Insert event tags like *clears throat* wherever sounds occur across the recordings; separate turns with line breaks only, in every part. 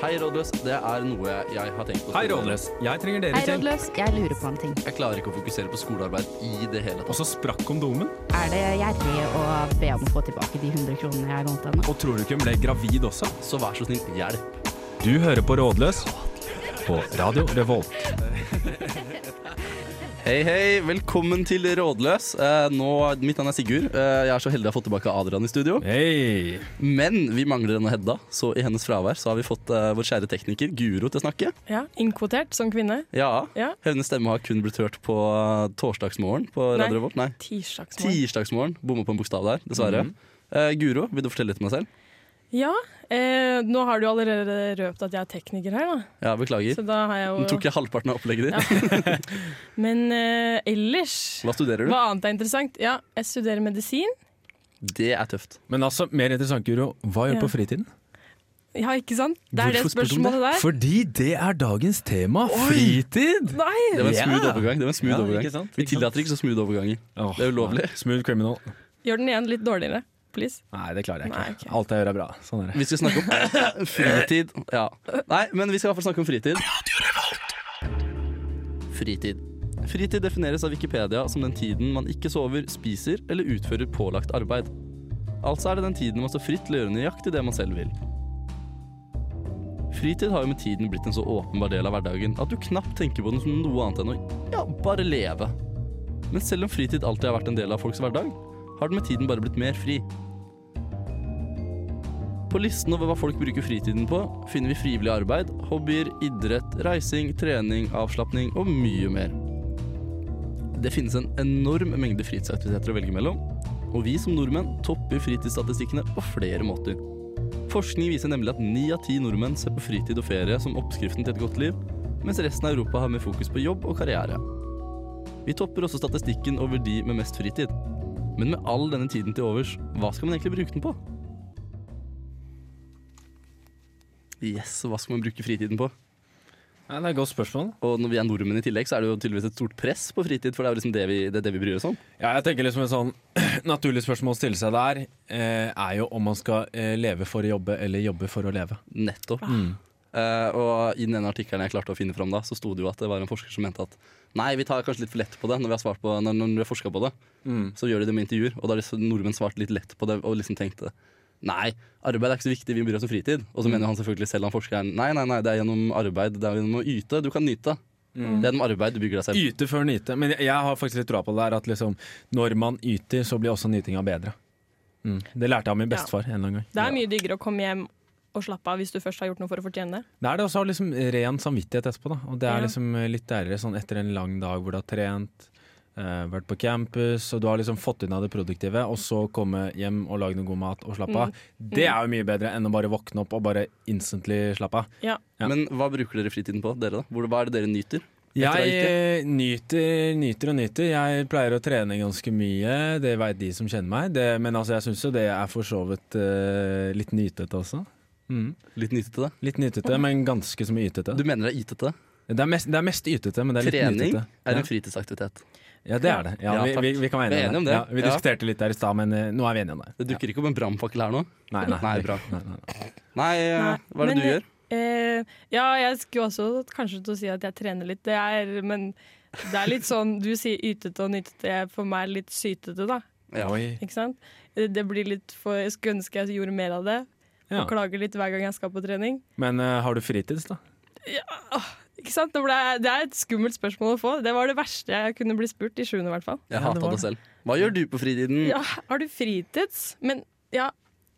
Hei, rådløs. Det er noe jeg har tenkt på.
Hei, Rådløs. Jeg trenger dere
Hei,
til.
rådløs. Jeg lurer på en ting.
Jeg klarer ikke å fokusere på skolearbeid i det hele
Og
tatt.
så sprakk kondomen.
Er det gjerrig å be om å få tilbake de 100 kronene jeg lånte henne?
Og tror du ikke hun ble gravid også?
Så vær så snill, hjelp.
Du hører på Rådløs på Radio Revolt.
Hei, hei. Velkommen til Rådløs. Eh, nå, mitt navn er Sigurd. Eh, jeg er så heldig å ha fått tilbake Adrian i studio.
Hei.
Men vi mangler denne Hedda, så i hennes fravær så har vi fått eh, vår kjære tekniker Guro til å snakke.
Ja, Innkvotert som kvinne.
Ja.
Ja.
Hennes stemme har kun blitt hørt på eh, torsdagsmorgen på
Nei.
Radio Revolt. Nei.
Tirsdagsmorgen.
Tirsdagsmorgen. Bomma på en bokstav der, dessverre. Eh, Guro, vil du fortelle litt om deg selv?
Ja, eh, nå har du allerede røpt at jeg er tekniker her, da.
Ja, Beklager.
Så da har jeg
Nå
jo
tok jeg halvparten av opplegget ditt.
Men eh, ellers
Hva studerer du?
Hva annet er interessant? Ja, jeg studerer medisin.
Det er tøft.
Men altså, mer interessant, Guro, hva gjør du
Ja.
på fritiden?
Ja, ikke sant? Det
Hvorfor
er
spør
det
du om
spørsmålet der.
Fordi det er dagens tema, fritid!
Det
Nei!
var en
Ja.
smooth overgang. Det var en smooth
Ja,
overgang.
ikke sant,
Vi
ikke
tillater ikke så smooth overganger.
Åh,
Det er ulovlig.
nei. Smooth criminal.
Gjør den igjen litt dårligere. Please.
Nei, det klarer jeg ikke.
Nei, ok.
Alt jeg gjør er bra. Sånn er det.
Vi skal snakke om fritid. Ja. Nei, men vi skal i hvert fall snakke om fritid. Fritid. Fritid defineres av Wikipedia som den tiden man ikke sover, spiser eller utfører pålagt arbeid. Altså er det den tiden man står fritt til å gjøre nøyaktig det man selv vil. Fritid har jo med tiden blitt en så åpenbar del av hverdagen at du knapt tenker på den som noe annet enn å ja, bare leve. Men selv om fritid alltid har vært en del av folks hverdag, har den med tiden bare blitt mer fri. På listen over hva folk bruker fritiden på, finner vi frivillig arbeid, hobbyer, idrett, reising, trening, avslapning og mye mer. Det finnes en enorm mengde fritidsaktiviteter å velge mellom, og vi som nordmenn topper fritidsstatistikkene på flere måter. Forskning viser nemlig at ni av ti nordmenn ser på fritid og ferie som oppskriften til et godt liv, mens resten av Europa har mer fokus på jobb og karriere. Vi topper også statistikken over de med mest fritid. Men med all denne tiden til overs, hva skal man egentlig bruke den på? Yes, hva skal man bruke fritiden på?
Nei, det er et godt spørsmål.
Og når vi er nordmenn i tillegg, så er det jo tydeligvis et stort press på fritid, for det er jo liksom det vi, det er det vi bryr oss om.
Ja, jeg tenker liksom et sånn *clears throat* naturlig spørsmål å stille seg der, eh, er jo om man skal eh, leve for å jobbe, eller jobbe for å leve.
Nettopp. Eh, og i den ene artikkelen jeg klarte å finne fram da, så sto det jo at det var en forsker som mente at nei, vi tar kanskje litt for lett på det når vi har, svart på, når, når vi har forska på det. Så gjør de det med intervjuer, og da har disse nordmenn svart litt lett på det og liksom tenkte nei, arbeid er ikke så viktig, vi bryr oss om fritid. Og så mener jo han selvfølgelig selv han forskeren nei, nei, nei, det er gjennom arbeid, det er gjennom å yte, du kan nyte. Det er gjennom arbeid du bygger deg selv.
Yte før nyte. Men jeg, jeg har faktisk litt troa på det der, at liksom, når man yter, så blir også nytinga bedre. Mm. Det lærte jeg av min bestefar en eller annen gang.
Det er mye diggere å komme hjem og slappe av hvis du først har gjort noe for å fortjene det.
Det er det også å ha liksom ren samvittighet etterpå, da. Og det er
Ja.
liksom litt deiligere sånn etter en lang dag hvor du har trent, eh, vært på campus, og du har liksom fått unna det produktive, og så komme hjem og lage noe god mat og slappe
Mm.
av. Det er jo mye bedre enn å bare våkne opp og bare instantly slappe av.
Ja.
Ja.
Men hva bruker dere fritiden på, dere da? Hvor- Hva er det dere nyter? Etter å ha
Jeg
gitt det?
eh, nyter, nyter og nyter. Jeg pleier å trene ganske mye, det veit de som kjenner meg. Det, men altså, jeg syns jo det er for så vidt eh, litt nytete også. Mm.
Litt nytete?
Litt nytete, men ganske så mye ytete.
Du mener det er ytete?
Det er mest, det er mest ytete, men det er litt
Trening
nytete.
er
Ja.
en fritidsaktivitet.
Ja, det er det. Ja,
Ja,
vi,
takk.
vi, vi kan være
Vi er
enige om det. Ja, vi
Ja.
diskuterte litt der i stad, men eh, nå er vi enige om det.
Det dukker ikke opp en brannfakkel her nå.
Nei, nei,
Nei, bra.
Nei, nei, nei.
Nei, eh,
Nei,
hva er det
men,
du gjør?
Eh, ja, jeg skulle også kanskje til å si at jeg trener litt. Det er, men det er litt sånn Du sier ytete og nytete. Jeg er For meg litt sytete, da.
Ja.
Oi.
Ikke sant? Eh, Det blir litt for Jeg skulle ønske jeg gjorde mer av det.
Ja.
Og klager litt hver gang jeg skal på trening.
Men eh, har du fritids, da?
Ikke sant? Det, ble, det er et skummelt spørsmål å få. Det var det verste jeg kunne bli spurt i sjuende, i hvert fall.
Jeg
Ja, det
hata
var
det selv. Hva gjør du på fritiden?
Mm.
Ja, har du fritids? Men ja,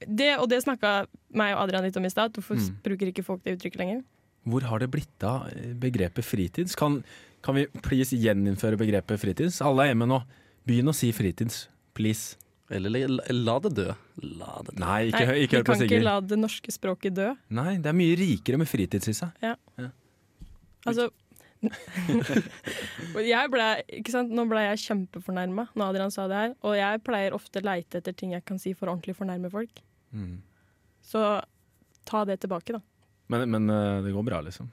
det, og det snakka meg og Adrian litt om i stad. Hvorfor
Mm.
bruker ikke folk det uttrykket lenger?
Hvor har det blitt av eh, begrepet fritids? Kan, kan vi please gjeninnføre begrepet fritids? Alle er hjemme nå. Begynn å si fritids. Please.
Eller la, la det dø. La det dø.
Nei, ikke,
Nei,
hø- ikke hør
vi
på
kan ikke
Sigurd.
la det norske språket dø.
Nei, det er mye rikere med fritids i seg.
Altså
*laughs*
Og jeg ble, ikke sant? Nå ble jeg kjempefornærma når Adrian sa det her. Og jeg pleier ofte å leite etter ting jeg kan si for å ordentlig fornærme folk. Så ta det tilbake, da.
Men, men eh, det går bra, liksom.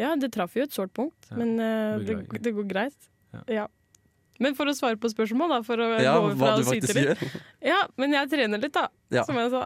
Ja, det traff jo et sårt punkt,
Ja,
men
det
eh, det,
går greit.
det går greit.
Ja.
Ja. Men for å svare på spørsmål, da, for å
Ja,
gå over
hva
fra
du
å syte
faktisk
litt
gjør.
Ja, men jeg trener litt, da.
Ja.
Som jeg sa.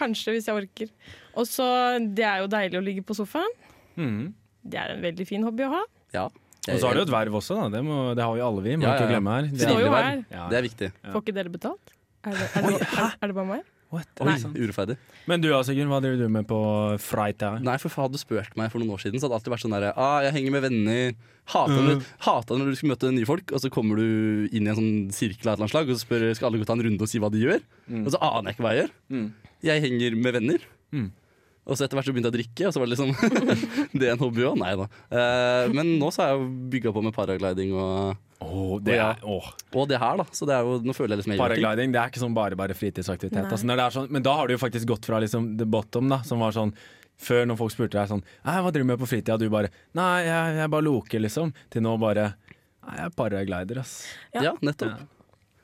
Kanskje, hvis jeg orker. Og så, Det er jo deilig å ligge på sofaen.
Mhm.
Det er en veldig fin hobby å ha.
Ja.
Og så har du et verv også, da. Det, må, det har vi alle, vi. Må
Ja, ja,
ikke
ja.
glemme her.
Det
Står jo
verv.
her.
Ja.
Det er viktig.
Ja.
Får ikke dere betalt? Er det, er det, er det, er det bare meg?
What?
Oi,
Nei.
urettferdig.
Men du da, Sigrun, hva driver du med på freitag?
Nei, for hadde du spurt meg for noen år siden, så hadde det alltid vært sånn derre ah, Jeg henger med venner. Hata
Mm.
når, hata når du skulle møte nye folk, og så kommer du inn i en sånn sirkel av et eller annet slag, og så spør, skal alle gå ta en runde og si hva de gjør. Og så aner jeg ikke hva jeg gjør. Jeg henger med venner.
Mm.
Og så etter hvert så begynte jeg å drikke, og så var det liksom *laughs* Det er en hobby òg? Nei da. Eh, men nå så har jeg jo bygga på med paragliding og,
Åh, det
Ja.
er, åh.
og det her, da. Så det er jo, nå føler jeg liksom jeg gjør ting.
Paragliding det er ikke sånn bare bare fritidsaktivitet.
Nei.
Altså, når det er sånn, men da har du jo faktisk gått fra liksom, the bottom, da, som var sånn før når folk spurte deg sånn «Nei, 'Hva driver du med på fritida?' og du bare 'Nei, jeg, jeg bare loker', liksom. Til nå bare 'Nei, jeg er paraglider', ass.
Ja.
Ja, nettopp.
Ja.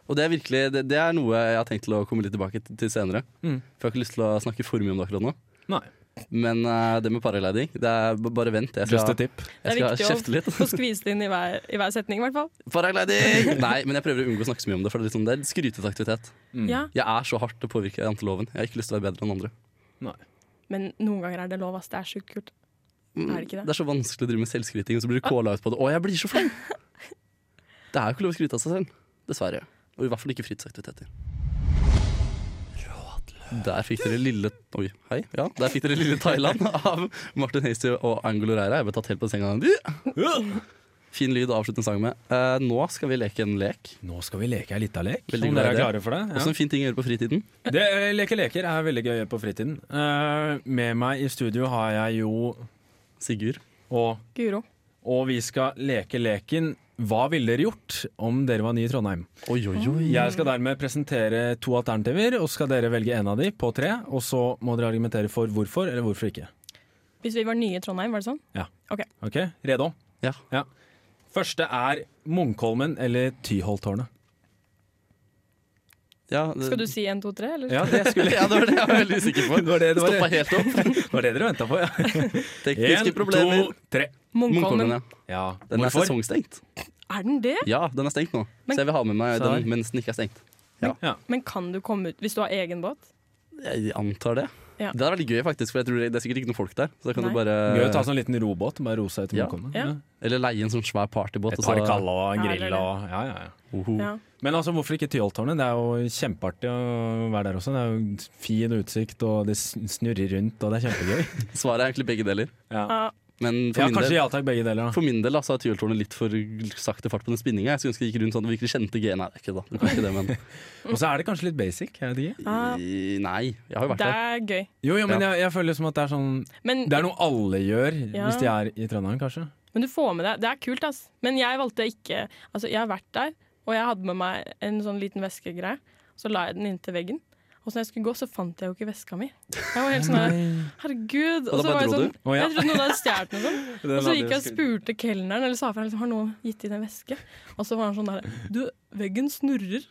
Og det er virkelig det, det er noe jeg har tenkt til å komme litt tilbake til- til senere.
Mm.
For jeg har ikke lyst til å snakke for mye om det akkurat nå.
Nei.
Men eh, det med paragliding det er b- Bare vent. Jeg
Just a
skal,
tip.
Det er
jeg skal kjefte
viktig
litt. *laughs*
å få *laughs* skvise det inn i hver, i hver setning, i hvert fall.
Paragliding! Nei, men jeg prøver å unngå å snakke så mye om det. For det er, litt sånn, det er en skrytete aktivitet.
Mm.
Ja,
Jeg er så hardt påvirket av janteloven. Jeg har ikke lyst til å være bedre enn andre.
Men noen ganger er det lov, ass. Det er sjukt kult.
Mm,
Er det ikke det?
er så vanskelig å drive med selvskryting, og så blir du kåla ut på det. Å, jeg blir
*laughs*
så flau! Det er jo ikke lov å skryte av seg selv. Dessverre. Og i hvert fall ikke fritidsaktiviteter. Der fikk dere lille Oi, hei. Ja, der fikk dere lille
*laughs*
Thailand av Martin Hasty og Angolo Reira. Jeg ble tatt helt på senga.
*laughs*
Fin lyd å avslutte en sang med. Eh, nå skal vi leke en lek.
Nå skal vi leke ei lita lek.
Veldig
om
glad i
dere er
det.
klare for det. Ja.
Også en fin ting å gjøre på fritiden.
Det, eh, leke leker er veldig gøy å gjøre på fritiden. Eh, med meg i studio har jeg jo
Sigurd.
og,
Guro.
og vi skal leke leken 'Hva ville dere gjort om dere var nye i Trondheim'?
Oi, oi,
Mm.
oi.
Jeg skal dermed presentere to alternativer, og så skal dere velge en av de på tre. Og så må dere argumentere for hvorfor eller hvorfor ikke.
Hvis vi var nye i Trondheim, var det sånn?
Ok, Redo?
Ja.
Første er Munkholmen eller Tyholttårnet.
Ja, det-
Skal du si en, to, tre, eller?
Ja, det skulle
*laughs* ja, det var det jeg var veldig usikker på.
*laughs* Det var det, det var
Stoppa
det.
helt
*laughs*
opp.
Det var det dere venta
*laughs*
på, ja.
Tekniske problemer.
to, tre.
Munkholmen,
Munkholmen.
ja.
Ja,
Den er
hvorfor?
sesongstengt.
Er den det?
Ja, den er stengt nå.
Men-
så jeg vil ha med meg
Så her.
den mens den ikke er stengt.
Men kan du komme ut hvis du har egen båt?
Jeg antar det.
Ja.
Det er veldig gøy, faktisk, for jeg tror det det er sikkert ikke noen folk der. Så da kan
Nei.
du bare
Gøy å ta sånn liten robåt bare rose ut til
Ja.
Munkholmen.
Ja.
Eller leie en sånn svær partybåt.
Et
og
par
så-
kalla og en
Ja,
grill
eller-
og ja, ja, ja.
Oho.
Ja.
Men altså, hvorfor ikke Tyholttårnet? Det er jo kjempeartig å være der også. Det er jo fin utsikt, og det sn- snurrer rundt, og det er kjempegøy.
Svaret er egentlig begge deler.
*laughs* Ja.
Ja.
Men for
Ja,
min
kanskje
del
ja takk, begge deler. Da.
for min del da, så har tyreltårnet litt for sakte fart på den spinninga. Jeg skulle ønske det gikk rundt sånn at vi virkelig kjente G. Nei, det er ikke, da. Det kan ikke det, men
Og så er det kanskje litt basic. Jeg vet ikke.
Ah.
I- Nei, jeg har jo vært
Det
der.
er gøy.
Jo, jo, men
Ja.
jeg, jeg føler som at det er sånn
Men,
Det er noe alle gjør
Ja.
hvis de er i Trondheim, kanskje.
men du får med deg Det er kult, ass. Men jeg valgte ikke Altså, jeg har vært der, og jeg hadde med meg en sånn liten veskegreie. Så la jeg den inntil veggen. Og så når jeg skulle gå, så fant jeg jo ikke veska mi. Jeg var helt
*laughs*
sånn her,
Og
Herregud.
da
Og
bare
så var jeg
dro
sånn
du?
Å, ja.
Jeg trodde noen hadde stjålet den. og Sånn. Og så gikk jeg og spurte kelneren eller sa fra liksom, har noen gitt inn en veske. Og så var han sånn der Du, veggen snurrer.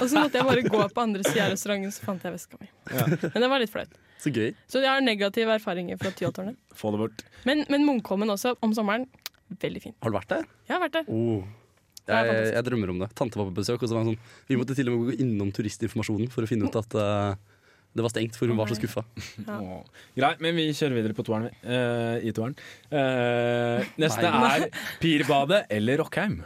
Og så måtte jeg bare gå på andre sida av restauranten, så fant jeg veska mi.
Ja.
Men det var litt flaut.
Så gøy.
Så jeg har negative erfaringer fra Tyholttårnet.
Få det bort.
Men, men Munkholmen også, om sommeren. Veldig fint.
Har du vært der?
Jeg har vært der.
Oh.
Det er
Jeg,
fantastisk.
jeg drømmer om det. Tante var på besøk, og så var hun sånn Vi måtte til og med gå innom turistinformasjonen for å finne ut at eh, det var stengt, for hun var så skuffa.
Ja.
Åh. Greit, men vi kjører videre på toeren, vi. Eh, i toeren. Eh, neste er Pirbadet eller
*laughs*
Rockheim.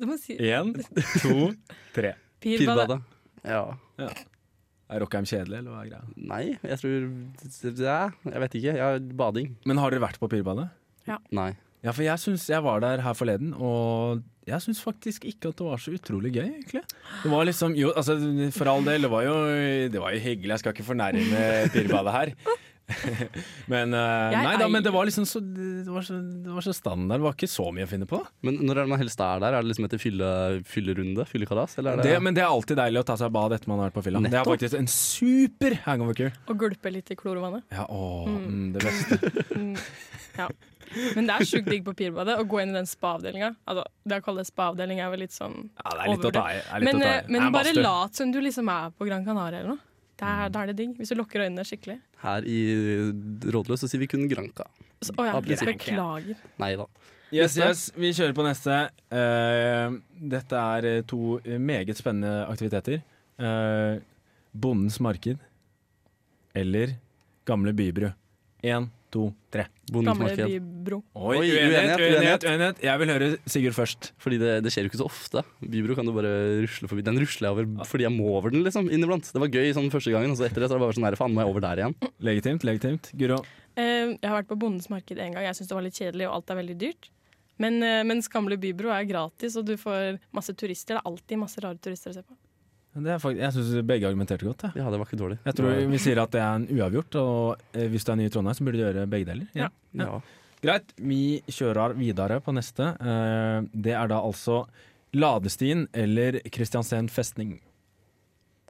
Du må si
Én, to, tre.
Pirbadet.
Pirbadet. Ja.
Er Rockheim kjedelig, eller hva er greia?
Nei, jeg tror ja, Jeg vet ikke. Jeg har bading.
Men har dere vært på Pirbadet?
Nei.
Ja, for jeg syns jeg var der her forleden, og jeg syns faktisk ikke at det var så utrolig gøy, egentlig. Det var liksom Jo, altså, for all del, det var jo, det var jo hyggelig, jeg skal ikke fornærme Pirbadet her. *laughs* men eh,
Jeg
Nei da,
eier-
men det var liksom så det, var så det var så standard, det var ikke så mye å finne på.
Men når er det man helst er der? Er det liksom etter fylle, fyllerunde? Fyllekalas? Eller er det,
Det, men det er alltid deilig å ta seg bad etter man har vært på fylla. Det er
Nettopp.
faktisk en super hangover-kur.
Og gulpe litt i klorvannet.
Ja, åh, mm, det beste.
Mm. Ja. Men det er sjukt digg på Pirbadet å gå inn i den spa-avdelinga. Altså, det å kalle det spa-avdeling er vel litt sånn
Ja, det er litt å ta i. det er litt
Men,
å ta i.
eh, men
Det er
bare
badstue.
lat som du liksom er på Gran Canaria eller noe. Da er, da er det digg. Hvis du lukker øynene skikkelig.
Her i Rådløs så sier vi kun Granka.
Så, å ja,
Da blir det
beklager.
Nei da.
Yes,
Neste.
yes, vi kjører på neste. Eh, dette er eh, to meget spennende aktiviteter. Eh, Bondens marked eller Gamle Bybru. Én, to, tre.
Bondens
Gamle
marked.
bybro.
Oi,
uenighet, uenighet.
uenighet. Jeg vil høre Sigurd først.
Fordi det, det skjer jo ikke så ofte. Bybro kan du bare rusle forbi. Den rusler jeg over fordi jeg må over den, liksom, inniblant. Det var gøy sånn første gangen, og så etter det så er det bare sånn her, faen, må jeg over der igjen?
Legitimt, legitimt. Guro.
Eh, jeg har vært på Bondens marked en gang. Jeg syns det var litt kjedelig, og alt er veldig dyrt. Men, eh, mens Gamle Bybro er gratis, og du får masse turister. Det er alltid masse rare turister å se på.
Det er fakt jeg syns begge argumenterte godt. Jeg.
Ja, det var ikke dårlig.
jeg tror vi sier at det er en uavgjort, og eh, hvis du er ny i Trondheim, så burde du gjøre begge deler.
Ja.
Ja. *laughs*
Greit, vi kjører videre på neste. Eh, Det er da altså Ladestien eller Kristiansand festning.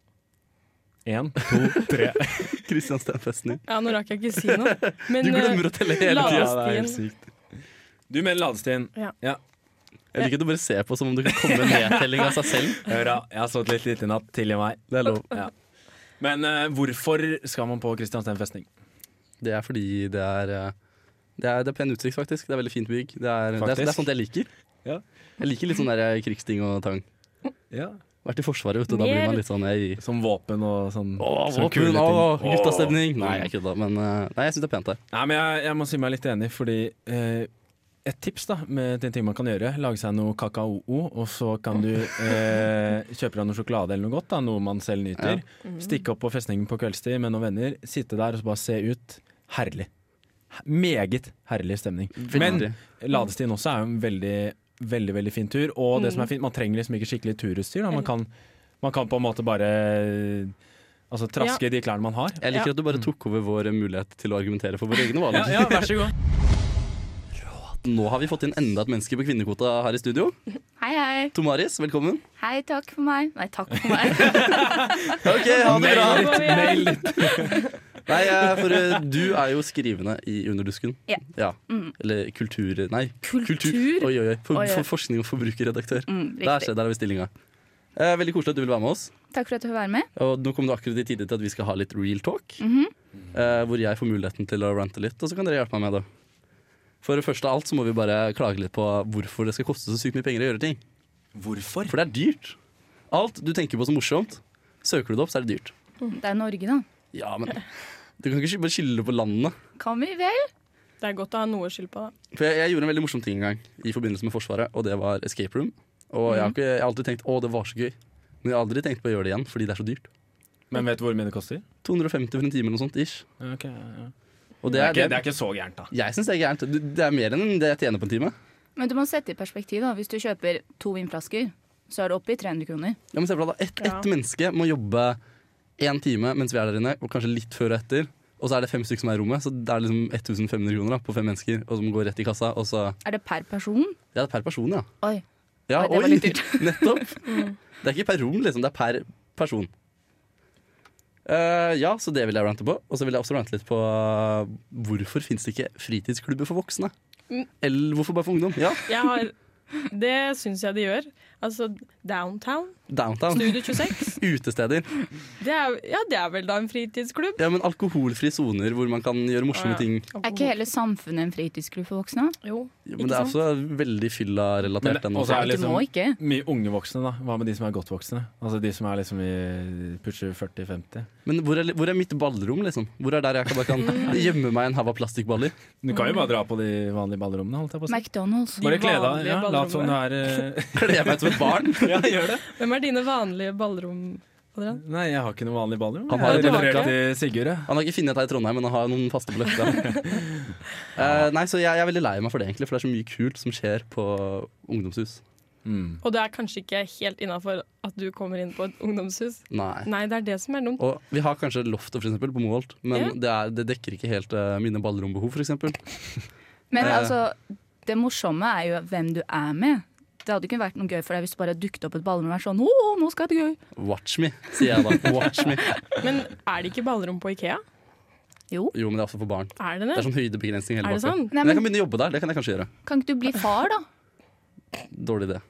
*laughs* Én, to, tre.
Kristiansten festning.
Ja, Nå rakk jeg ikke si
*laughs*
noe. Men,
Du glemmer
eh,
å telle hele
la-
tida.
Ja, det er helt sykt. Du mener Ladestien.
Ja.
Jeg liker at du bare ser på som om du kan komme med nedtelling av seg selv.
Hør da, jeg har sovet litt lite i natt. Tilgi meg.
Det er lov.
Ja. Men eh, hvorfor skal man på Kristiansand festning?
Det er fordi det er eh, det er, det er pen utsikt, faktisk. Det er veldig fint bygg. Det er, det er, det er
Faktisk.
sånt jeg liker.
Ja.
Jeg liker litt sånn der eh, krigsting og tang. Vært i Forsvaret, vet du. Da blir man litt sånn ei
Som våpen og sånn.
Åh,
sånn
våpen,
kule ting.
åh,
Åh.
guttastemning! Nei, jeg kødda, men eh, nei, jeg syns det er pent her.
Nei, men jeg, jeg må si meg litt enig, fordi eh, et tips da, med en ting man kan gjøre, lage seg noe kakao, og så kan du eh, kjøpe deg noe sjokolade eller noe godt, da, noe man selv nyter. Stikke opp på festningen på kveldstid med noen venner, sitte der og så bare se ut. Herlig. He- Meget herlig stemning. Men
Veldig.
ladestien også er jo en veldig, veldig, veldig fin tur, og det som er fint, man trenger liksom ikke skikkelig turutstyr, da. Man kan, man kan på en måte bare altså, traske i de klærne man har.
Jeg liker
Ja.
at du bare tok over vår mulighet til å argumentere for våre egne
Ja,
valg.
ja, vær så god.
Nå har vi fått inn enda et menneske på kvinnekvota her i studio.
Hei, hei.
Tomaris, velkommen.
Hei, takk for meg. Nei, takk for meg.
*laughs*
Ok, ha det bra!
Nail it, nail
Nei, eh, for eh, du er jo skrivende i Underdusken.
Ja.
Eller kultur... Nei.
Kultur?
Oi, oi, oi. For,
Oi, oi.
for forskning og forbrukerredaktør.
Mm,
Der,
riktig.
se, der har vi stillinga. Eh, veldig koselig at du vil være med oss.
Takk for at du får være med.
Og nå kom du akkurat i tide til at vi skal ha litt real talk.
Mhm.
eh, hvor jeg får muligheten til å rante litt, og så kan dere hjelpe meg med det. For det første av alt så må vi bare klage litt på hvorfor det skal koste så sykt mye penger å gjøre ting.
Hvorfor?
For det er dyrt. Alt du tenker på som morsomt, søker du det opp, så er det dyrt.
Det er Norge, da.
Ja, men du kan ikke bare skylde på landene.
Kan vi vel?
Det er godt å ha noe å skylde på, da.
For jeg, jeg gjorde en veldig morsom ting en gang i forbindelse med Forsvaret, og det var escape room. Og
Mhm.
jeg har, ikke, jeg har alltid tenkt 'å, det var så gøy', men jeg har aldri tenkt på å gjøre det igjen fordi det er så dyrt.
Men vet du hvor mye det koster?
250 for en time eller noe sånt ish.
Ok, ja.
Og
det, er ikke,
det,
det er ikke så gærent, da.
jeg syns det er gærent. Du- Det er mer enn det jeg tjener på en time.
Men du må sette i perspektiv, da. Hvis du kjøper to vinflasker, så er det oppe i 300 kroner.
Ja, men se for deg da, ett
Ja.
ett menneske må jobbe én time mens vi er der inne, og kanskje litt før og etter. Og så er det fem stykker som er i rommet, så det er liksom 1500 kroner da, på fem mennesker. Og som går rett i kassa, og så
Er det per person?
Ja, det er per person, ja.
Oi.
ja
Oi, det var litt dyrt.
*laughs*
*laughs*
nettopp.
Mm.
Det er ikke per rom, liksom. Det er per person. Eh, ja, så det vil jeg rante på. Og så vil jeg også rante litt på eh, hvorfor fins det ikke fritidsklubber for voksne?
Mm.
Eller hvorfor bare for ungdom? Ja,
Jeg har, det syns jeg de gjør. Altså, Downtown,
Downtown.
Studio 26.
Utesteder.
Det er, ja, det er vel da en fritidsklubb?
Ja, men Alkoholfrie soner hvor man kan gjøre morsomme
Å, ja.
ting.
Er ikke hele samfunnet en fritidsklubb for voksne?
Jo.
Ja,
Ikke
men det er
sant?
også veldig
Men
fylla-relatert.
det-
den
og så
også.
er det
Du
liksom-
må ikke.
Mye unge voksne, da. Hva med de som er godt voksne? Altså de som er liksom i pusher 40-50.
Men hvor er, hvor er mitt ballrom, liksom? Hvor er der jeg kan- bare
*laughs*
kan gjemme meg en haug av plastikkballer? *laughs*
Du kan jo bare dra på de vanlige ballerommene, holdt jeg på å si.
McDonald's.
Bare kle deg av.
vanlige
Ja, lat som du er
Kle meg ut som et barn?
eh, *laughs* Ja, gjør det.
Hvem er dine vanlige ballrom? Adrian?
Nei, jeg har ikke noe vanlig ballerom.
Han
Jeg
har
et
refererer
tilbake.
til Sigurd, jeg.
Han har ikke funnet deg i Trondheim, men han har noen faste på løftet. Eh, nei, så jeg, jeg er veldig lei meg for det, egentlig, for det er så mye kult som skjer på ungdomshus.
Mm.
Og det er kanskje ikke helt innafor at du kommer inn på et ungdomshus.
Nei.
Nei, det er det som er dumt.
Og vi har kanskje loftet, for eksempel, på Moholt, men det, er, det dekker ikke helt eh, mine ballrombehov, for eksempel.
Men
Eh.
altså, det morsomme er jo hvem du er med. Det hadde ikke vært noe gøy for deg hvis du bare dukket opp et ballrom og vært sånn Å, nå skal jeg ha det gøy.
Watch me, sier jeg
*laughs*
da. Watch me.
Men er det ikke ballrom på Ikea?
Jo,
Jo, men det er også for barn.
Er det
Det er
det?
sånn høydebegrensning hele
Er det
bakka.
sånn?
Men jeg kan begynne å jobbe der. Det kan jeg kanskje gjøre.
kan ikke du bli far, da?
Dårlig idé.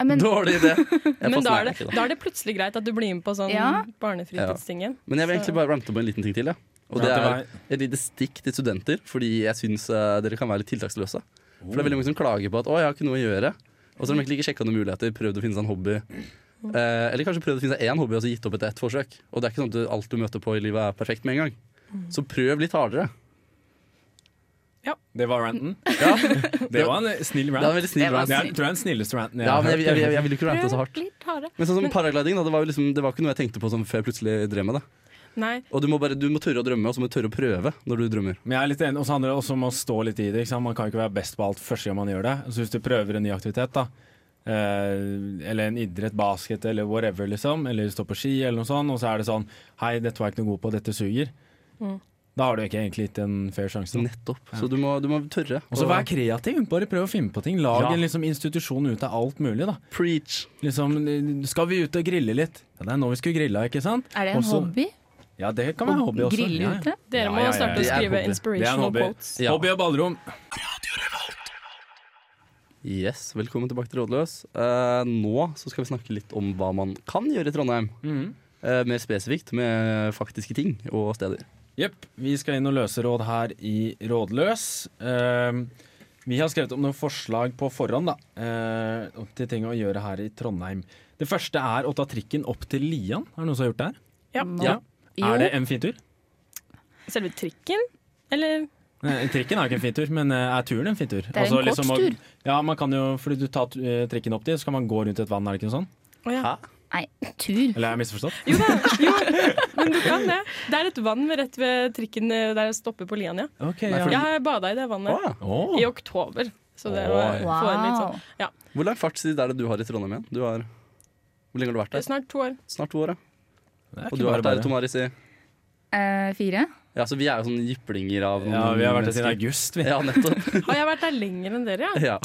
Ja, Men,
Dårlig idé! Jeg
*laughs* Men da
fastner
er det,
ikke, da.
da er det plutselig greit at du blir med på sånn
Ja.
barnefritidstingen.
Men jeg vil egentlig bare rante om en liten ting til. Ja. Og
Ja,
det
til
er et lite stikk til studenter, fordi jeg syns eh, dere kan være litt tiltaksløse. For det er veldig mange som klager på at 'å, jeg har ikke noe å gjøre'. Og så har de egentlig ikke sjekka noen muligheter, prøvd å finne seg en hobby. Eh, eller kanskje prøvd å finne seg én hobby og så gitt opp etter ett forsøk. Og det er ikke sånn at du- alt du møter på i livet er perfekt med en gang. Så prøv litt hardere.
Det var ranten.
Ja,
Det var en eh, snill
det er en
rant.
veldig snill
Det var
rant.
Det er, tror jeg er den snilleste ranten jeg
Ja,
har
men jeg, jeg, jeg,
hørt.
jeg vil ikke rante så hardt.
Litt hardere.
Men sånn som paragliding, da, det var jo liksom, det var ikke noe jeg tenkte på som før jeg plutselig drev med det.
Nei,
Og du må, bare, du må tørre å drømme, og så må du tørre å prøve når du drømmer.
Men jeg er litt enig, og så handler det også om å stå litt i det. Ikke sant? Man kan jo ikke være best på alt første gang man gjør det. Så hvis du prøver en ny aktivitet, da, eh, eller en idrett, basket eller whatever, liksom, eller stå på ski eller noe sånt, og så er det sånn Hei, dette var jeg ikke noe god på, dette suger.
Mm.
Da har du ikke egentlig gitt en fair sjanse.
Nettopp. Så du må, du må tørre.
Og så vær kreativ, bare prøv å finne på ting. Lag
Ja.
en liksom, institusjon ut av alt mulig, da.
preach.
Liksom, skal vi ut og grille litt? Ja, det er nå vi skulle grilla, ikke sant?
Er det en
Også-
hobby?
Ja, det kan være en hobby også.
Grille
Ja, ja.
ute?
dere
Ja,
må
ja, ja,
starte
det
er
å skrive
hobby.
Det er en
inspirational
hobby.
quotes.
Ja.
Hobby og ballrom.
Yes, Velkommen tilbake til Rådløs. Eh, nå så skal vi snakke litt om hva man kan gjøre i Trondheim. Eh, mer spesifikt med faktiske ting og steder.
Jepp. Vi skal inn og løse råd her i Rådløs. Eh, vi har skrevet om noen forslag på forhånd da, eh, til ting å gjøre her i Trondheim. Det første er å ta trikken opp til Lian. Er det noen som har gjort det her?
Ja.
Må-
Ja.
Jo.
Er det en fin tur?
Selve trikken, eller
Eh, Trikken er jo ikke en fin tur, men eh, er turen en fin tur? Det
er en kort tur.
Ja, man kan jo, fordi du tar eh, trikken opp dit, så kan man gå rundt et vann, er det ikke noe sånn?
Å ja.
Nei, tur.
Eller har jeg misforstått?
Jo da, jo. men du kan det. Det er et vann rett ved trikken eh, der jeg stopper på Lian, ja.
Ok,
Nei, for-
ja.
Jeg har bada i det
Å,
vannet
ja.
Åh.
i oktober. Så det
Oi.
var få en litt
Wow.
sånn Ja,
Hvor lang fartstid er det du har i Trondheim igjen? Du har, hvor lenge har du vært
det er
der?
snart to år.
Snart to år, ja.
Det er
Og
ikke
du har
bare
vært der,
bare.
Tomaris, i
Eh, fire?
Ja, så vi er jo sånne jyplinger av noen
Ja, vi har vært der siden
mennesker.
august, vi.
Ja, nettopp.
*laughs* Har jeg vært der lenger enn dere? Ja?
Ja.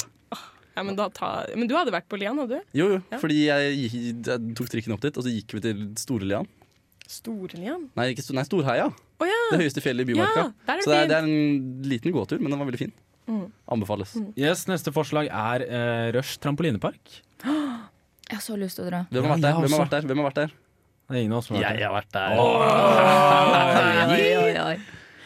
Ja, men, da ta... men du hadde vært på Lian, hadde du?
Jo, jo,
Ja.
fordi jeg, gikk- jeg tok trikken opp dit, og så gikk vi til Storelian.
Store Lian?
Nei, ikke, Sto- nei Storheia.
Å ja!
Det høyeste fjellet i
Ah. ja!
Bymarka.
Der er
så det er, det
det
er
fint.
en liten gåtur, men den var veldig fin. Anbefales.
Yes, neste forslag er eh, Rush trampolinepark.
Jeg har så lyst til å dra.
Hvem har vært
Ja,
der? Hvem
jeg
har
også.
vært der? Hvem har vært der?
Det er ingen av oss som har vært der.
har vært der.
Oi, oi, oi, oi.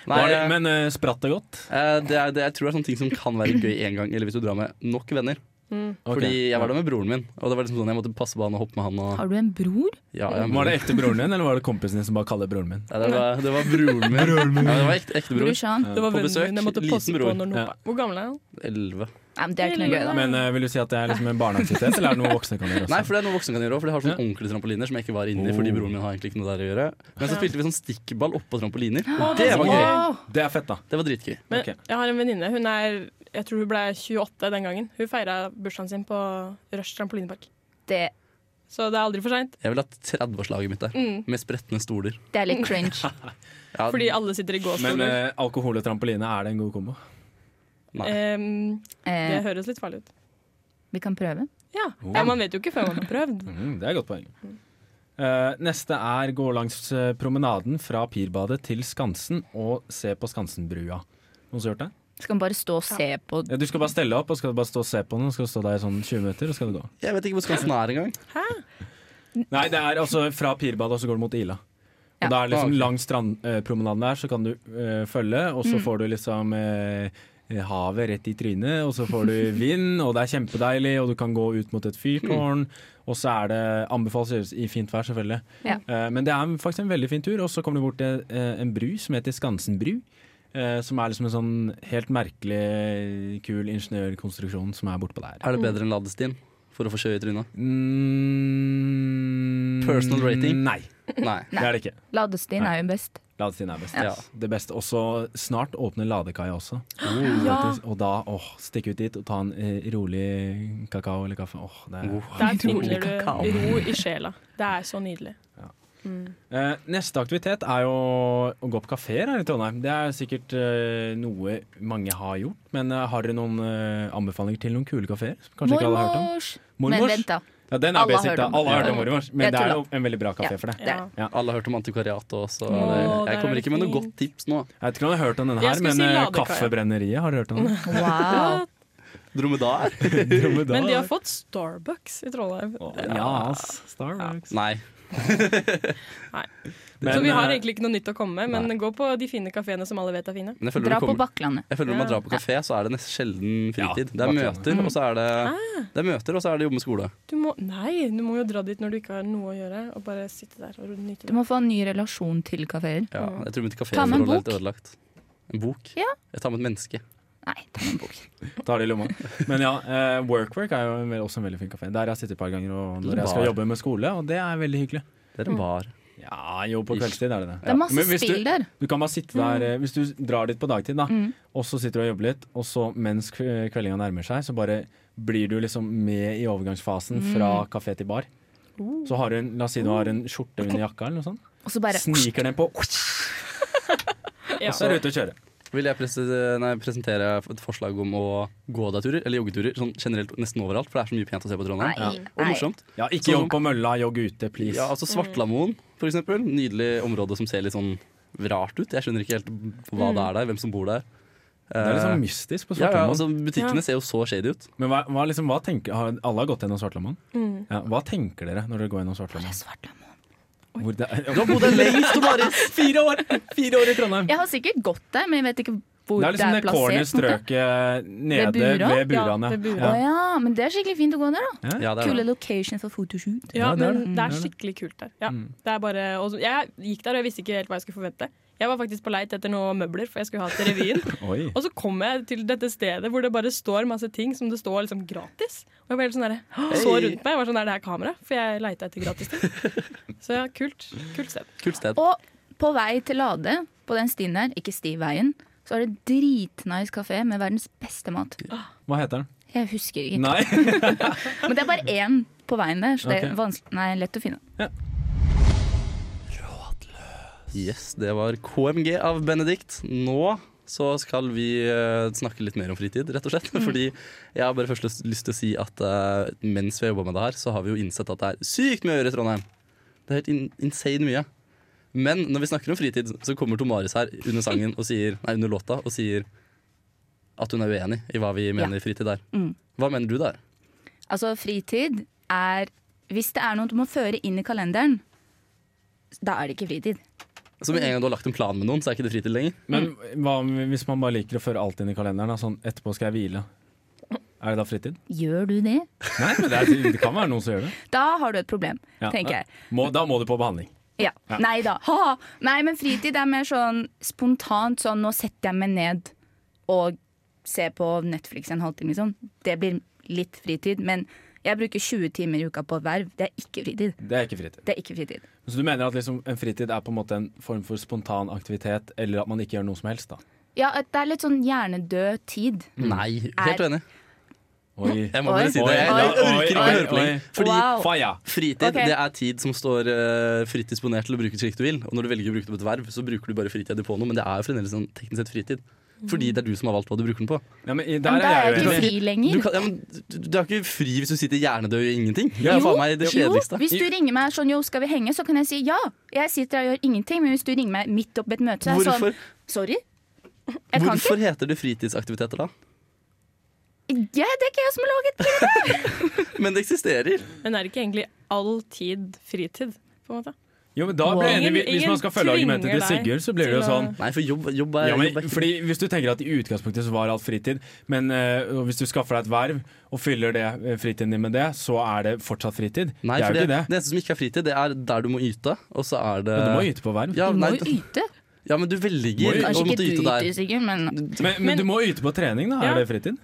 Nei,
Var det, men eh, spratt det godt?
eh, det er, det, jeg tror det er sånne ting som kan være gøy én gang, eller hvis du drar med nok venner. Fordi jeg var der med broren min, og det var liksom sånn jeg måtte passe på han og hoppe med han. Og,
Har du en bror?
ja, jeg,
Var det ekte broren din, eller var det kompisen din som bare kaller broren min?
ja, det, var, det var broren
*laughs*
min. Ja, det var ekte, ekte bror.
Brorsan?
Eh,
Det var
På
vennen
besøk,
min jeg måtte
liten
passe på
bror.
når den
Ja.
hoppa. Hvor gammel er han?
11.
Nei, men det er ikke noe gøy, da.
Men eh, vil du si at det er liksom en barneaktivitet, eller er det noe voksne kan gjøre også?
Nei, for det er noe voksne kan gjøre òg, for de har sånne
Ja.
ordentlige trampoliner som jeg ikke var inne i fordi
Oh.
broren min har egentlig ikke noe der å gjøre. Men så
Ja.
spilte vi sånn stikkball oppå trampoliner.
Å,
det
altså.
var gøy.
Wow.
Det er fett, da.
Det var dritgøy.
Men
Ok.
jeg har en venninne. Hun er Jeg tror hun ble 28 den gangen. Hun feira bursdagen sin på Rush trampolinepark.
Det,
Så det er aldri for seint.
Jeg ville hatt 30-årslaget mitt der,
Mm.
med spretne stoler.
det er
*laughs*
litt cringe.
Ja,
Fordi alle sitter i
Men
gåstoler.
eh, alkohol og trampoline, er det en god kombo?
nei.
Ehm, det
Eh,
høres litt farlig ut.
vi kan prøve.
Ja.
Oh.
ja, Man vet jo ikke før man har prøvd.
*laughs* Mm, det er et godt poeng. Eh, neste er gå langs eh, promenaden fra Pirbadet til Skansen og se på Skansenbrua. Noen som har gjort det?
Skal man bare stå og se på
Ja, du skal bare stelle opp og skal bare stå og se på den. og Skal stå der i sånn 20 minutter, og skal du gå.
Jeg vet ikke hvor Skansen er engang.
Nei, det er altså fra Pirbadet, og så går du mot Ila. Og
Ja. Ah,
da er det liksom
Ok.
langs strandpromenaden der, så kan du eh, følge, og
Mm.
så får du liksom eh, havet rett i trynet, og så får du
*laughs*
vind, og det er kjempedeilig, og du kan gå ut mot et fyrtårn, og så er det anbefales å gjøres i fint vær, selvfølgelig.
Ja.
Eh, men det er faktisk en veldig fin tur, og så kommer du bort til eh, en bru som heter Skansenbru. eh, som er liksom en sånn helt merkelig kul ingeniørkonstruksjon som er bortpå der.
Er det bedre enn Ladestien? For å få sjø i trynet?
Mm,
Personal rating?
Nei,
Nei.
det er det ikke.
Ladestien er jo best.
Ladestien er best.
Ja.
Det beste. Også snart åpner ladekaia også. Faktisk. Og da åh, stikke ut dit og ta en eh, rolig kakao eller kaffe. Åh, det er.
Oh.
Der
Utrolig
finner
kakao.
du ro i sjela. Det er så nydelig.
Eh, neste aktivitet er jo å gå på kafeer her i Trondheim. Det er sikkert eh, noe mange har gjort. Men eh, har dere noen eh, anbefalinger til noen kule kafeer? Kanskje ikke alle har hørt om?
Mormors! Men
Mormors?
vent,
*laughs*
da.
Ja, den er
Alle har
basic,
hørt
da.
om den.
Alle har hørt
Ja.
om mormors.
Jeg
Men det er jo
tror
en veldig bra kafé for det.
Det er
Ja.
det.
Alle har hørt om antikvariatet også.
Å,
eller-
der
jeg
er
kommer
det
ikke med noe
fint.
godt tips nå.
Jeg vet ikke om jeg har hørt om denne
Jeg
her, men
skulle si
eh,
ladekaia.
Kaffebrenneriet, har dere hørt om den?
Wow.
Dromedar?
*laughs*
Dromedar.
Men de har fått Starbucks i Trondheim.
Ja, ass. Starbucks.
Nei.
så vi har
eh,
egentlig ikke noe nytt å komme med, men gå på de fine kafeene som alle vet er fine.
Men jeg føler,
Dra
du
på
kommer,
Bakklandet.
jeg føler når man drar på kafé, så er det nesten sjelden fritid.
Ja,
det er
bakklandet.
møter, og så er det,
Ah.
det er møter, og så er det jobbe med skole.
Du må, nei, du må jo dra dit når du ikke har noe å gjøre, og bare sitte der og nyte
Du
det.
må få en ny relasjon til kafeer.
Ja, jeg tror mitt
Mm. Ta med en
kaféforhold er helt
bok.
ødelagt. En bok?
Ja.
Jeg tar med et menneske.
Nei, ta med en bok.
Ta det i lomma. Men ja, eh, Workwork er jo en vel- også en veldig fin kafé. Der har jeg sittet et par ganger og når
Eller
jeg skal
bar.
jobbe med skole, og det er veldig hyggelig.
Det
Mm.
er en bar.
Ja, jo, på kveldstid er det det.
Det er masse
Men hvis du-
spill der.
Du kan bare sitte der, eh, Hvis du drar dit på dagtid, da,
Mm.
og så sitter du og jobber litt, og så mens kve- kveldinga nærmer seg, så bare blir du liksom med i overgangsfasen
Mm.
fra kafé til bar. Så har du en, La oss si du har en skjorte under jakka, eller noe sånt.
Og så Uh. bare
Sniker den
*laughs*
på, og
Ja.
så er du ute og kjører.
Vil jeg prese, nei, presentere et forslag om å gå deg turer, eller joggeturer, sånn generelt nesten overalt, for det er så mye pent å se på i Trondheim.
Nei,
Og
nei.
morsomt.
Ja, ikke jogg på mølla, jogg ute, please.
Ja, altså Svartlamoen, for eksempel. Nydelig område som ser litt sånn rart ut. Jeg skjønner ikke helt hva det er der, hvem som bor der.
det er litt sånn mystisk på
ja, ja,
Svartlamoen.
altså Butikkene
Ja.
ser jo så shady ut.
Men hva, hva, liksom, hva tenker, har, alle har gått gjennom Svartlamoen.
Mm.
Ja, hva tenker dere når dere går gjennom
Det er
Svartlamoen?
svart lamon.
Hvor det er-
Du har bodd der lengst, du bare
Fire år! Fire år i Trondheim!
Jeg har sikkert gått der, men jeg vet ikke hvor
Det er liksom det corner
plassert. på en måte.
strøket nede
Ved bura?
ved burene.
Ja, ved bura.
Å ja, men det er skikkelig fint å gå der, da.
Ja, det er
Kule
det.
location for photoshoot.
Ja,
Ja, det er det.
men det er
Mm.
skikkelig kult der. Ja, det er bare, og, så- jeg gikk der, og jeg visste ikke helt hva jeg skulle forvente. Jeg var faktisk på leit etter noe møbler, for jeg skulle ha til
*laughs*
revyen.
Oi.
Og så kom jeg til dette stedet hvor det bare står masse ting som det står liksom gratis. Og jeg var helt sånn der, så
Hei.
rundt meg og var sånn, er det her kamera? For jeg leita etter
*laughs*
gratis ting. Så ja, kult. Kult sted.
Kult sted.
Og på vei til Lade, på den stien der, ikke stiveien, så er det dritnice kafé med verdens beste mat.
Hva heter den?
Jeg husker ikke.
Nei.
Men det er bare én på veien der, så det er
Ok.
vanskelig Nei, lett å finne.
Yes, det var KMG av Benedikt. Nå så skal vi eh, snakke litt mer om fritid, rett og slett.
Mm.
Fordi jeg har bare først lyst- lyst til å si at eh, mens vi har jobba med det her, så har vi jo innsett at det er sykt mye å gjøre i Trondheim. Det er helt in insane mye. Men når vi snakker om fritid, så kommer Tomaris her under sangen og sier, nei, under låta og sier at hun er uenig i hva vi mener fritid er.
Mm.
Hva mener du der?
Altså, fritid er Hvis det er noe du må føre inn i kalenderen, da er det ikke fritid.
Så Altså, med en gang du har lagt en plan med noen, så er ikke det fritid lenger.
Men hva om hvis man bare liker å føre alt inn i kalenderen? da, Sånn etterpå skal jeg hvile. Er det da fritid?
Gjør du det,
Nei, men det, er, det kan være noen som gjør det.
da har du et problem,
Ja.
tenker jeg.
Må, da må du på behandling.
Ja.
Ja.
Nei da. Ha-ha. Nei, men fritid er mer sånn spontant sånn nå setter jeg meg ned og ser på Netflix en halvtime, liksom. Det blir litt fritid. Men jeg bruker 20 timer i uka på verv. Det er ikke fritid.
Det er ikke fritid.
Det er ikke fritid.
Så du mener at liksom en fritid er på en måte en form for spontan aktivitet, eller at man ikke gjør noe som helst, da?
Ja, at det er litt sånn hjernedød tid.
Nei, helt uenig.
Mm. Er-
Oi.
Jeg må
Oi.
bare si det. Jeg,
Oi.
jeg orker ikke å
Oi.
høre på lenger. Fordi
Wow.
Faya.
Fritid
Ok.
det er tid som står eh, fritt disponert til å bruke slik du vil. Og når du velger å bruke det på et verv, så bruker du bare fritida di på noe. Men det er jo fremdeles sånn teknisk sett fritid.
Mm.
Fordi det er du som har valgt hva du bruker den på.
Ja, men i- der
Men da er
er
jeg
jeg
ikke
uenig.
fri lenger.
Du, kan, ja, men, du, du er ikke fri hvis du sitter hjernedød og gjør ingenting. Det er
Jo,
faen meg det
jo,
kjedeligste.
hvis du ringer meg sånn 'jo, skal vi henge', så kan jeg si ja. Jeg sitter her og gjør ingenting, men hvis du ringer meg midt oppi et møte, så er jeg
Hvorfor,
sånn sorry. Jeg kan ikke.
hvorfor heter det fritidsaktiviteter da?
Ja, det er ikke jeg som har laget det.
Men det eksisterer.
Men er det ikke egentlig all tid fritid, på en måte?
Jo, men da blir jeg
Ingen-
enig. Hvis man skal følge
ingen
argumentet til
tvinger deg
Sigurd, så blir det jo
til å-
sånn
Nei, for jobb, jobb er
ja, men,
jobb er ikke-
fordi Hvis du tenker at i utgangspunktet så var alt fritid, men eh, og hvis du skaffer deg et verv og fyller det eh, fritiden din med det, så er det fortsatt fritid.
Nei,
det
for
er jo
det,
ikke det.
det eneste som ikke er fritid, det er der du må yte, og så er det
Men du må yte på verv.
Ja,
Du må
nei,
jo yte.
ja men du
Må
velger
jo-
å
Kanskje
måtte yte
ikke du yter,
der.
Sigurd, men
Men, men,
Men-
du må yte på trening, da.
Ja.
Er det fritid?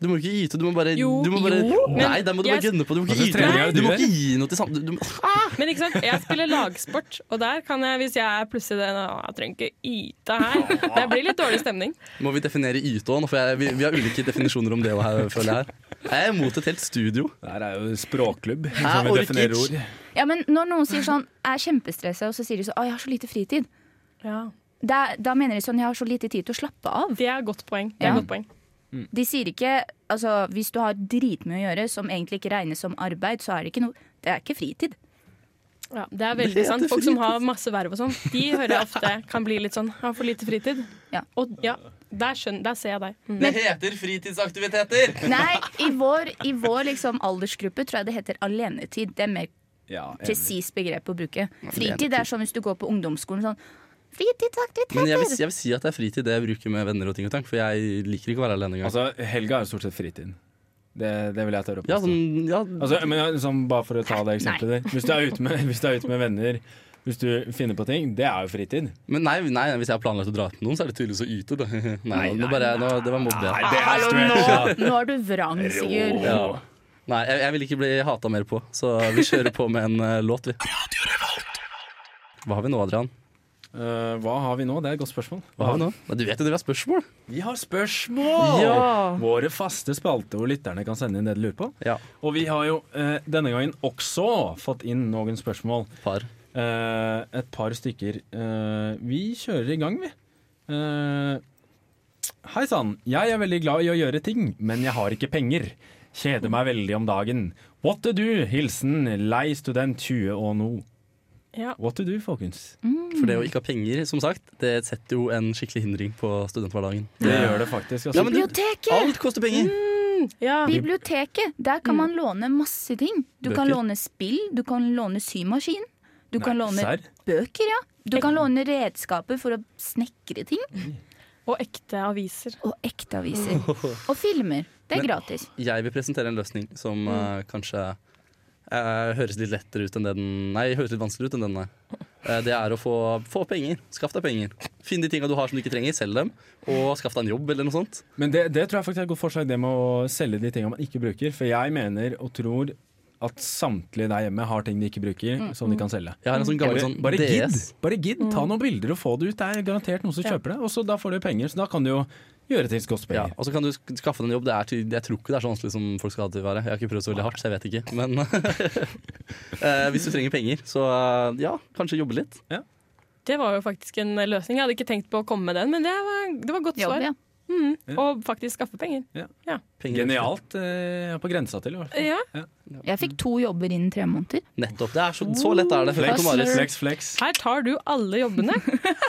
Du må ikke yte, du må bare,
Jo,
du må bare
jo,
Nei,
men
der må du bare
jeg-
gønne på. Du må
Altså,
ikke yte.
trening er jo
Du må
dyrt.
ikke gi noe til samme... Du, må-
Men ikke sant, jeg spiller lagsport, og der kan jeg, hvis jeg er plutselig den «Å, Jeg trenger ikke yte her. Det blir litt dårlig stemning.
Må vi definere yte òg? For jeg, vi, vi har ulike definisjoner om det òg, føler jeg. her. Jeg er imot et helt studio.
Det her er jo språkklubb,
Jeg
som vi
orker
definerer
ikke.
ord.
Ja, men når noen sier sånn 'jeg er kjempestressa', og så sier de sånn 'å, jeg har så lite fritid',
Ja.
da, da mener de sånn 'jeg har så lite tid til å slappe av'.
Det er et godt poeng. Det er
Ja.
et godt poeng.
De sier ikke altså hvis du har dritmye å gjøre som egentlig ikke regnes som arbeid, så er det ikke noe Det er ikke fritid.
Ja, det er
Det heter
veldig sant. Folk som
fritid.
har masse verv og sånn, de hører jeg ofte kan bli litt sånn Har for lite fritid.
Ja.
Og ja, der, skjønner, der ser jeg deg. Mm.
Det heter fritidsaktiviteter!
Nei, i vår, i vår liksom aldersgruppe tror jeg det heter alenetid. Det er mer
Ja, enig.
presis begrep å
det
bruke.
er
Fritid det er sånn hvis du går på ungdomsskolen sånn Fritidsaktiviteter!
Men jeg vil, jeg vil si at det er fritid det jeg bruker med venner og ting og tang, for jeg liker ikke å være alene engang.
Altså, helga er jo stort sett fritid. Det, det vil jeg tørre å påstå.
ja, sånn, ja,
Altså, men ja, sånn, bare for å ta det eksempelet der.
Nei.
Hvis du er ute med, *laughs* hvis du er ute med venner, hvis du finner på ting, det er jo fritid.
men nei, nei, hvis jeg har planlagt å dra ut med noen, så er det tydeligvis å yte. Da. *laughs* Nei,
nei,
nå bare, nå, det var mobbing.
Nei,
Nei,
det er stretch.
Nå er du vrang, Sigurd.
ja. nei jeg, jeg vil ikke bli hata mer på, så vi kjører på med en eh, låt, vi. Hva har vi nå, Adrian?
*laughs* Eh, hva har vi nå? Det er et godt spørsmål.
Hva har vi nå? Du vet jo det vi har spørsmål.
Vi har spørsmål!
Ja.
Våre faste spalte hvor lytterne kan sende inn det de lurer på.
Ja,
Og vi har jo eh, denne gangen også fått inn noen spørsmål.
par.
Eh, et par stykker. Eh, vi kjører i gang, vi. Eh, Hei sann, jeg er veldig glad i å gjøre ting, men jeg har ikke penger. Kjeder meg veldig om dagen. What to do? Hilsen lei student 20 og no.
Ja.
What to do, folkens?
For det å ikke ha penger, som sagt, det setter jo en skikkelig hindring på studenthverdagen.
Det gjør det faktisk.
Ja,
Altså.
men du-
Biblioteket!
Alt koster penger!
Ja.
Biblioteket, Der
Mm.
kan man låne masse ting. Du kan
Bøker.
låne spill, du kan låne symaskin. Du kan
Nei,
låne
serr?
bøker, ja. Du kan låne redskaper for å snekre ting.
Og ekte aviser.
Og ekte
*laughs*
aviser. Og filmer. Det er
Men-
gratis.
Jeg vil presentere en løsning som eh, kanskje eh, høres litt lettere ut enn det den Nei, høres litt vanskeligere ut enn den er. Eh, det er å få, få penger. Skaff deg penger. Finn de tinga du har som du ikke trenger, selg dem. Og skaff deg en jobb eller noe sånt.
Men det, det tror jeg faktisk er et godt forslag, det med å selge de tinga man ikke bruker. For jeg mener og tror at samtlige der hjemme har ting de ikke bruker,
Mm.
som de kan selge.
Jeg har en sånn gammel
Bare,
sånn
bare gidd,
DS.
bare gidd, ta noen bilder og få det ut. Det er garantert noen som kjøper det. Og så da får du penger, så da kan du jo gjøre ting som koster
Ja,
penger.
og så kan du sk- skaffe deg en jobb. Det er, ty- jeg tror ikke det er så vanskelig som folk skal ha det til å være. Jeg har ikke prøvd så veldig hardt, så jeg vet ikke. Men *laughs* eh, hvis du trenger penger, så eh, ja, kanskje jobbe litt.
Det var jo faktisk en løsning. Jeg hadde ikke tenkt på å komme med den, men det var, det var godt
Jobb,
svar.
ja.
Mm.
Ja.
Og faktisk skaffe penger.
Penger.
Genialt. Eh, på grensa til, i hvert fall.
Ja.
Jeg fikk to jobber innen tre måneder.
Nettopp. Det er så, så lett er det. Hør på
Flex,
Marius.
flex, flex.
Her tar du alle
*laughs*
jobbene.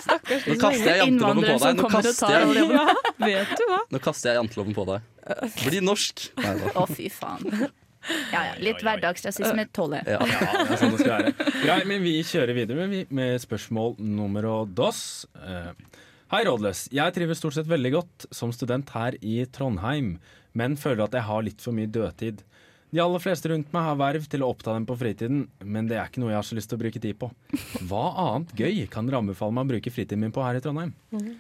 Stakkars
Nå kaster jeg janteloven på
Innvandrere som
deg. Nå
kommer og
kaster
tar
jeg,
over
Ja, vet du hva?
Nå kaster jeg janteloven på deg. Bli norsk! Nei da.
Å, fy faen. Ja, ja. Litt
Oi, oi, oi.
hverdagsrasisme tåler jeg.
Ja.
Ja, det er sånn det skal være. Greit, men vi kjører videre med, vi- med spørsmål nummer dos. Eh, Hei, Rådløs. Jeg trives stort sett veldig godt som student her i Trondheim, men føler at jeg har litt for mye dødtid. De aller fleste rundt meg har verv til å oppta dem på fritiden, men det er ikke noe jeg har så lyst til å bruke tid på. Hva annet gøy kan dere anbefale meg å bruke fritiden min på her i Trondheim?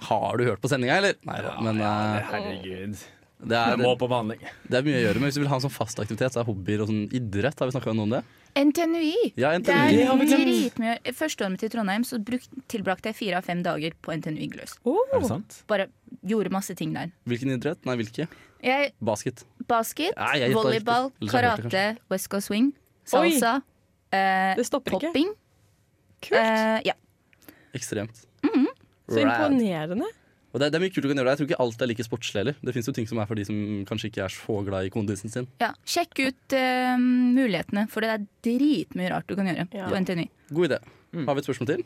Har du hørt på sendinga, eller? Nei da. Men eh,
Herregud.
det,
Jeg
er,
må på behandling.
det er mye å gjøre. Men hvis du vil ha en sånn fast aktivitet, så er hobbyer og sånn idrett Har vi snakka noe om det?
NTNUI.
Ja,
Det
NTNU.
er
har vi glemt.
dritmye. Førsteåret mitt i Trondheim så bruk, tilbrakte jeg fire av fem dager på NTNU Gløs.
Er det
Oh,
sant?
Bare gjorde masse ting der.
Hvilken idrett? Nei, hvilke?
Jeg,
Basket.
basket,
Nei, jeg gjetter
volleyball,
riktig. Eller så er det
karate, West Coast Swing, salsa, eh,
det stopper ikke.
popping.
Kult.
Eh, ja.
Ekstremt.
Mm-hmm.
Så
Rad.
imponerende.
Og det, det er mye kult du kan gjøre der. Jeg tror ikke alt er like sportslig heller. Det fins jo ting som er for de som kanskje ikke er så glad i kondisen sin.
ja. Sjekk ut eh, mulighetene, for det er dritmye rart du kan gjøre
Ja.
på NTNU.
God idé.
Mm.
Har vi et spørsmål til?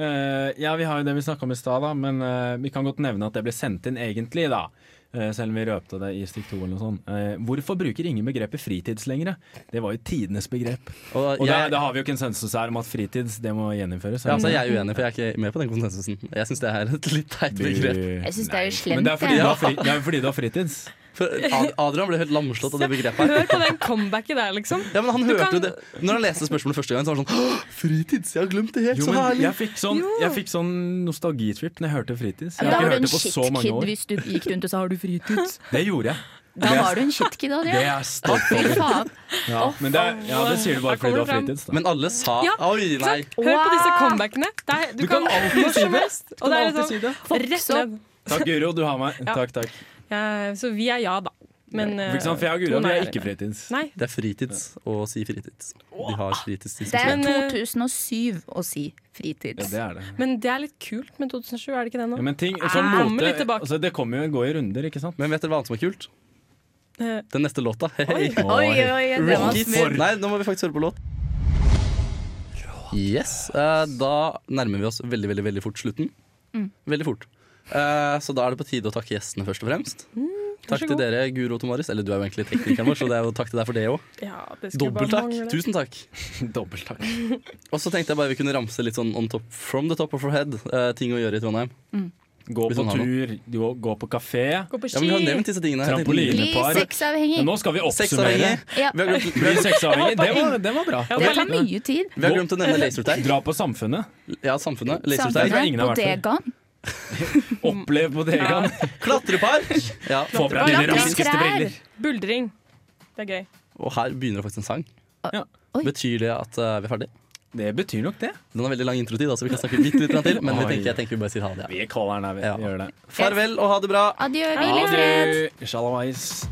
Eh, ja, vi har jo det vi snakka om i stad, da, men eh, vi kan godt nevne at det ble sendt inn egentlig, da. Eh, selv om vi røpte det i stikk to eller noe sånt. Eh, hvorfor bruker ingen begrepet fritids lenger? Det var jo tidenes begrep. Og da, da har vi jo konsensus her om at fritids, det må gjeninnføres.
Ja, altså, jeg er uenig, for jeg er ikke med på den konsensusen. Jeg syns det er et litt teit begrep.
Jeg synes det er jo slemt,
Men det er fordi
jeg.
du har fri, det er jo fordi du har fritids.
*laughs* For Ad- Adrian ble helt lamslått av det begrepet. her
Hør på den comebacket der, liksom.
ja, men han
Du
hørte
kan-
jo det Når han leste spørsmålet første gang, så var han sånn «Åh, Fritids! Jeg har glemt det helt!
Jo,
Så
men
herlig!
jeg fikk sånn, jeg fikk sånn nostalgitripp når jeg hørte fritids. Jeg
Da
har ikke
var du
hørt
en
det på så mange
shitkid
år.
hvis du gikk rundt og sa 'har du fritids'?
*laughs*
Det gjorde jeg.
Da var du en shitkid,
Det er
Adrian.
jeg stolt
Fy
av.
faen.
Ja, men det, er- ja, det sier du bare
Her
fordi du
kommer det
har
fram.
fritids. Da.
Men alle sa
Ja,
Oi, nei.
Hør på disse
Wow.
comebackene. Det er, du,
Du
kan,
kan alltid
når
si
som
det.
helst.
Du
Og
kan
det er
alltid si
liksom
det.
rett ned.
Takk, Guro. Du har meg.
Ja.
Takk, takk.
Ja, så vi er ja, da. Men eh,
Ikke sant? For jeg og Guro
Tone
vi er
er-
ikke fritids.
Nei.
Det er fritids å si fritids. De har fritids de som
*laughs*
Det er
sier.
Men, eh,
2007 å si
Ja,
fritids.
det er det.
Men det er litt kult med 2007, er det ikke det nå?
Ja, men ting, sånn
Ah, kommer
mote,
litt tilbake.
altså, det kommer jo gå i runder, ikke sant?
Men vet dere hva annet som er kult?
Eh,
Den neste låta. Hei.
Oi.
Oi,
*laughs*
oi, oi, det var
Ricky
smooth.
Ford. Nei, nå må vi faktisk høre på låt. Yes, eh, Da nærmer vi oss veldig veldig,
Mm. Mm,
veldig fort slutten. Veldig fort. Eh, så da er det på tide å takke gjestene, først og fremst. Takk til dere, Guro og Tom Marius. Eller du er jo egentlig teknikeren vår, så det er jo takk til deg for det òg.
Ja, det skulle
Dobbelt
bare
takk.
mangle.
Tusen takk.
Dobbelt takk.
Og så tenkte jeg bare vi kunne ramse litt sånn on top, from the top of our head, eh, ting å gjøre i Trondheim.
Gå
Hvis
på
han har
tur, gå, gå på kafé.
Gå på
Ja,
ski!
men vi har nevnt disse tingene. Jeg tenkte-
Trampoline.
Bli
Par.
sexavhengig.
Men nå skal vi oppsummere.
Sexavhengig.
Ja.
Vi har glemt,
Bli sexavhengig. Det var, det var bra.
Ja,
Det
bare
tar
litt-
mye tid.
vi har glemt å nevne lasertag.
Dra på Samfunnet.
Ja, samfunnet.
Samfunnet.
Lasertag.
tror ingen har vært for.
Bodegaen.
Opplev bodegaen.
Klatrepark! Ja.
Få frem
Klatre
dine
på
raskeste
trær.
briller.
Buldring. Det er gøy.
Og her begynner det faktisk en sang.
Ja.
Oi.
Betyr det at eh, vi er ferdig?
Det betyr nok det.
Den har veldig lang introtid, da, så vi kan snakke bitte litt til. Men vi
Oi.
tenker, jeg tenker vi bare sier ha det.
Vi kaller den her, vi.
Ja.
vi gjør det.
Ja. Farvel og ha det bra.
Adjø, hvil i fred.
Shalawais.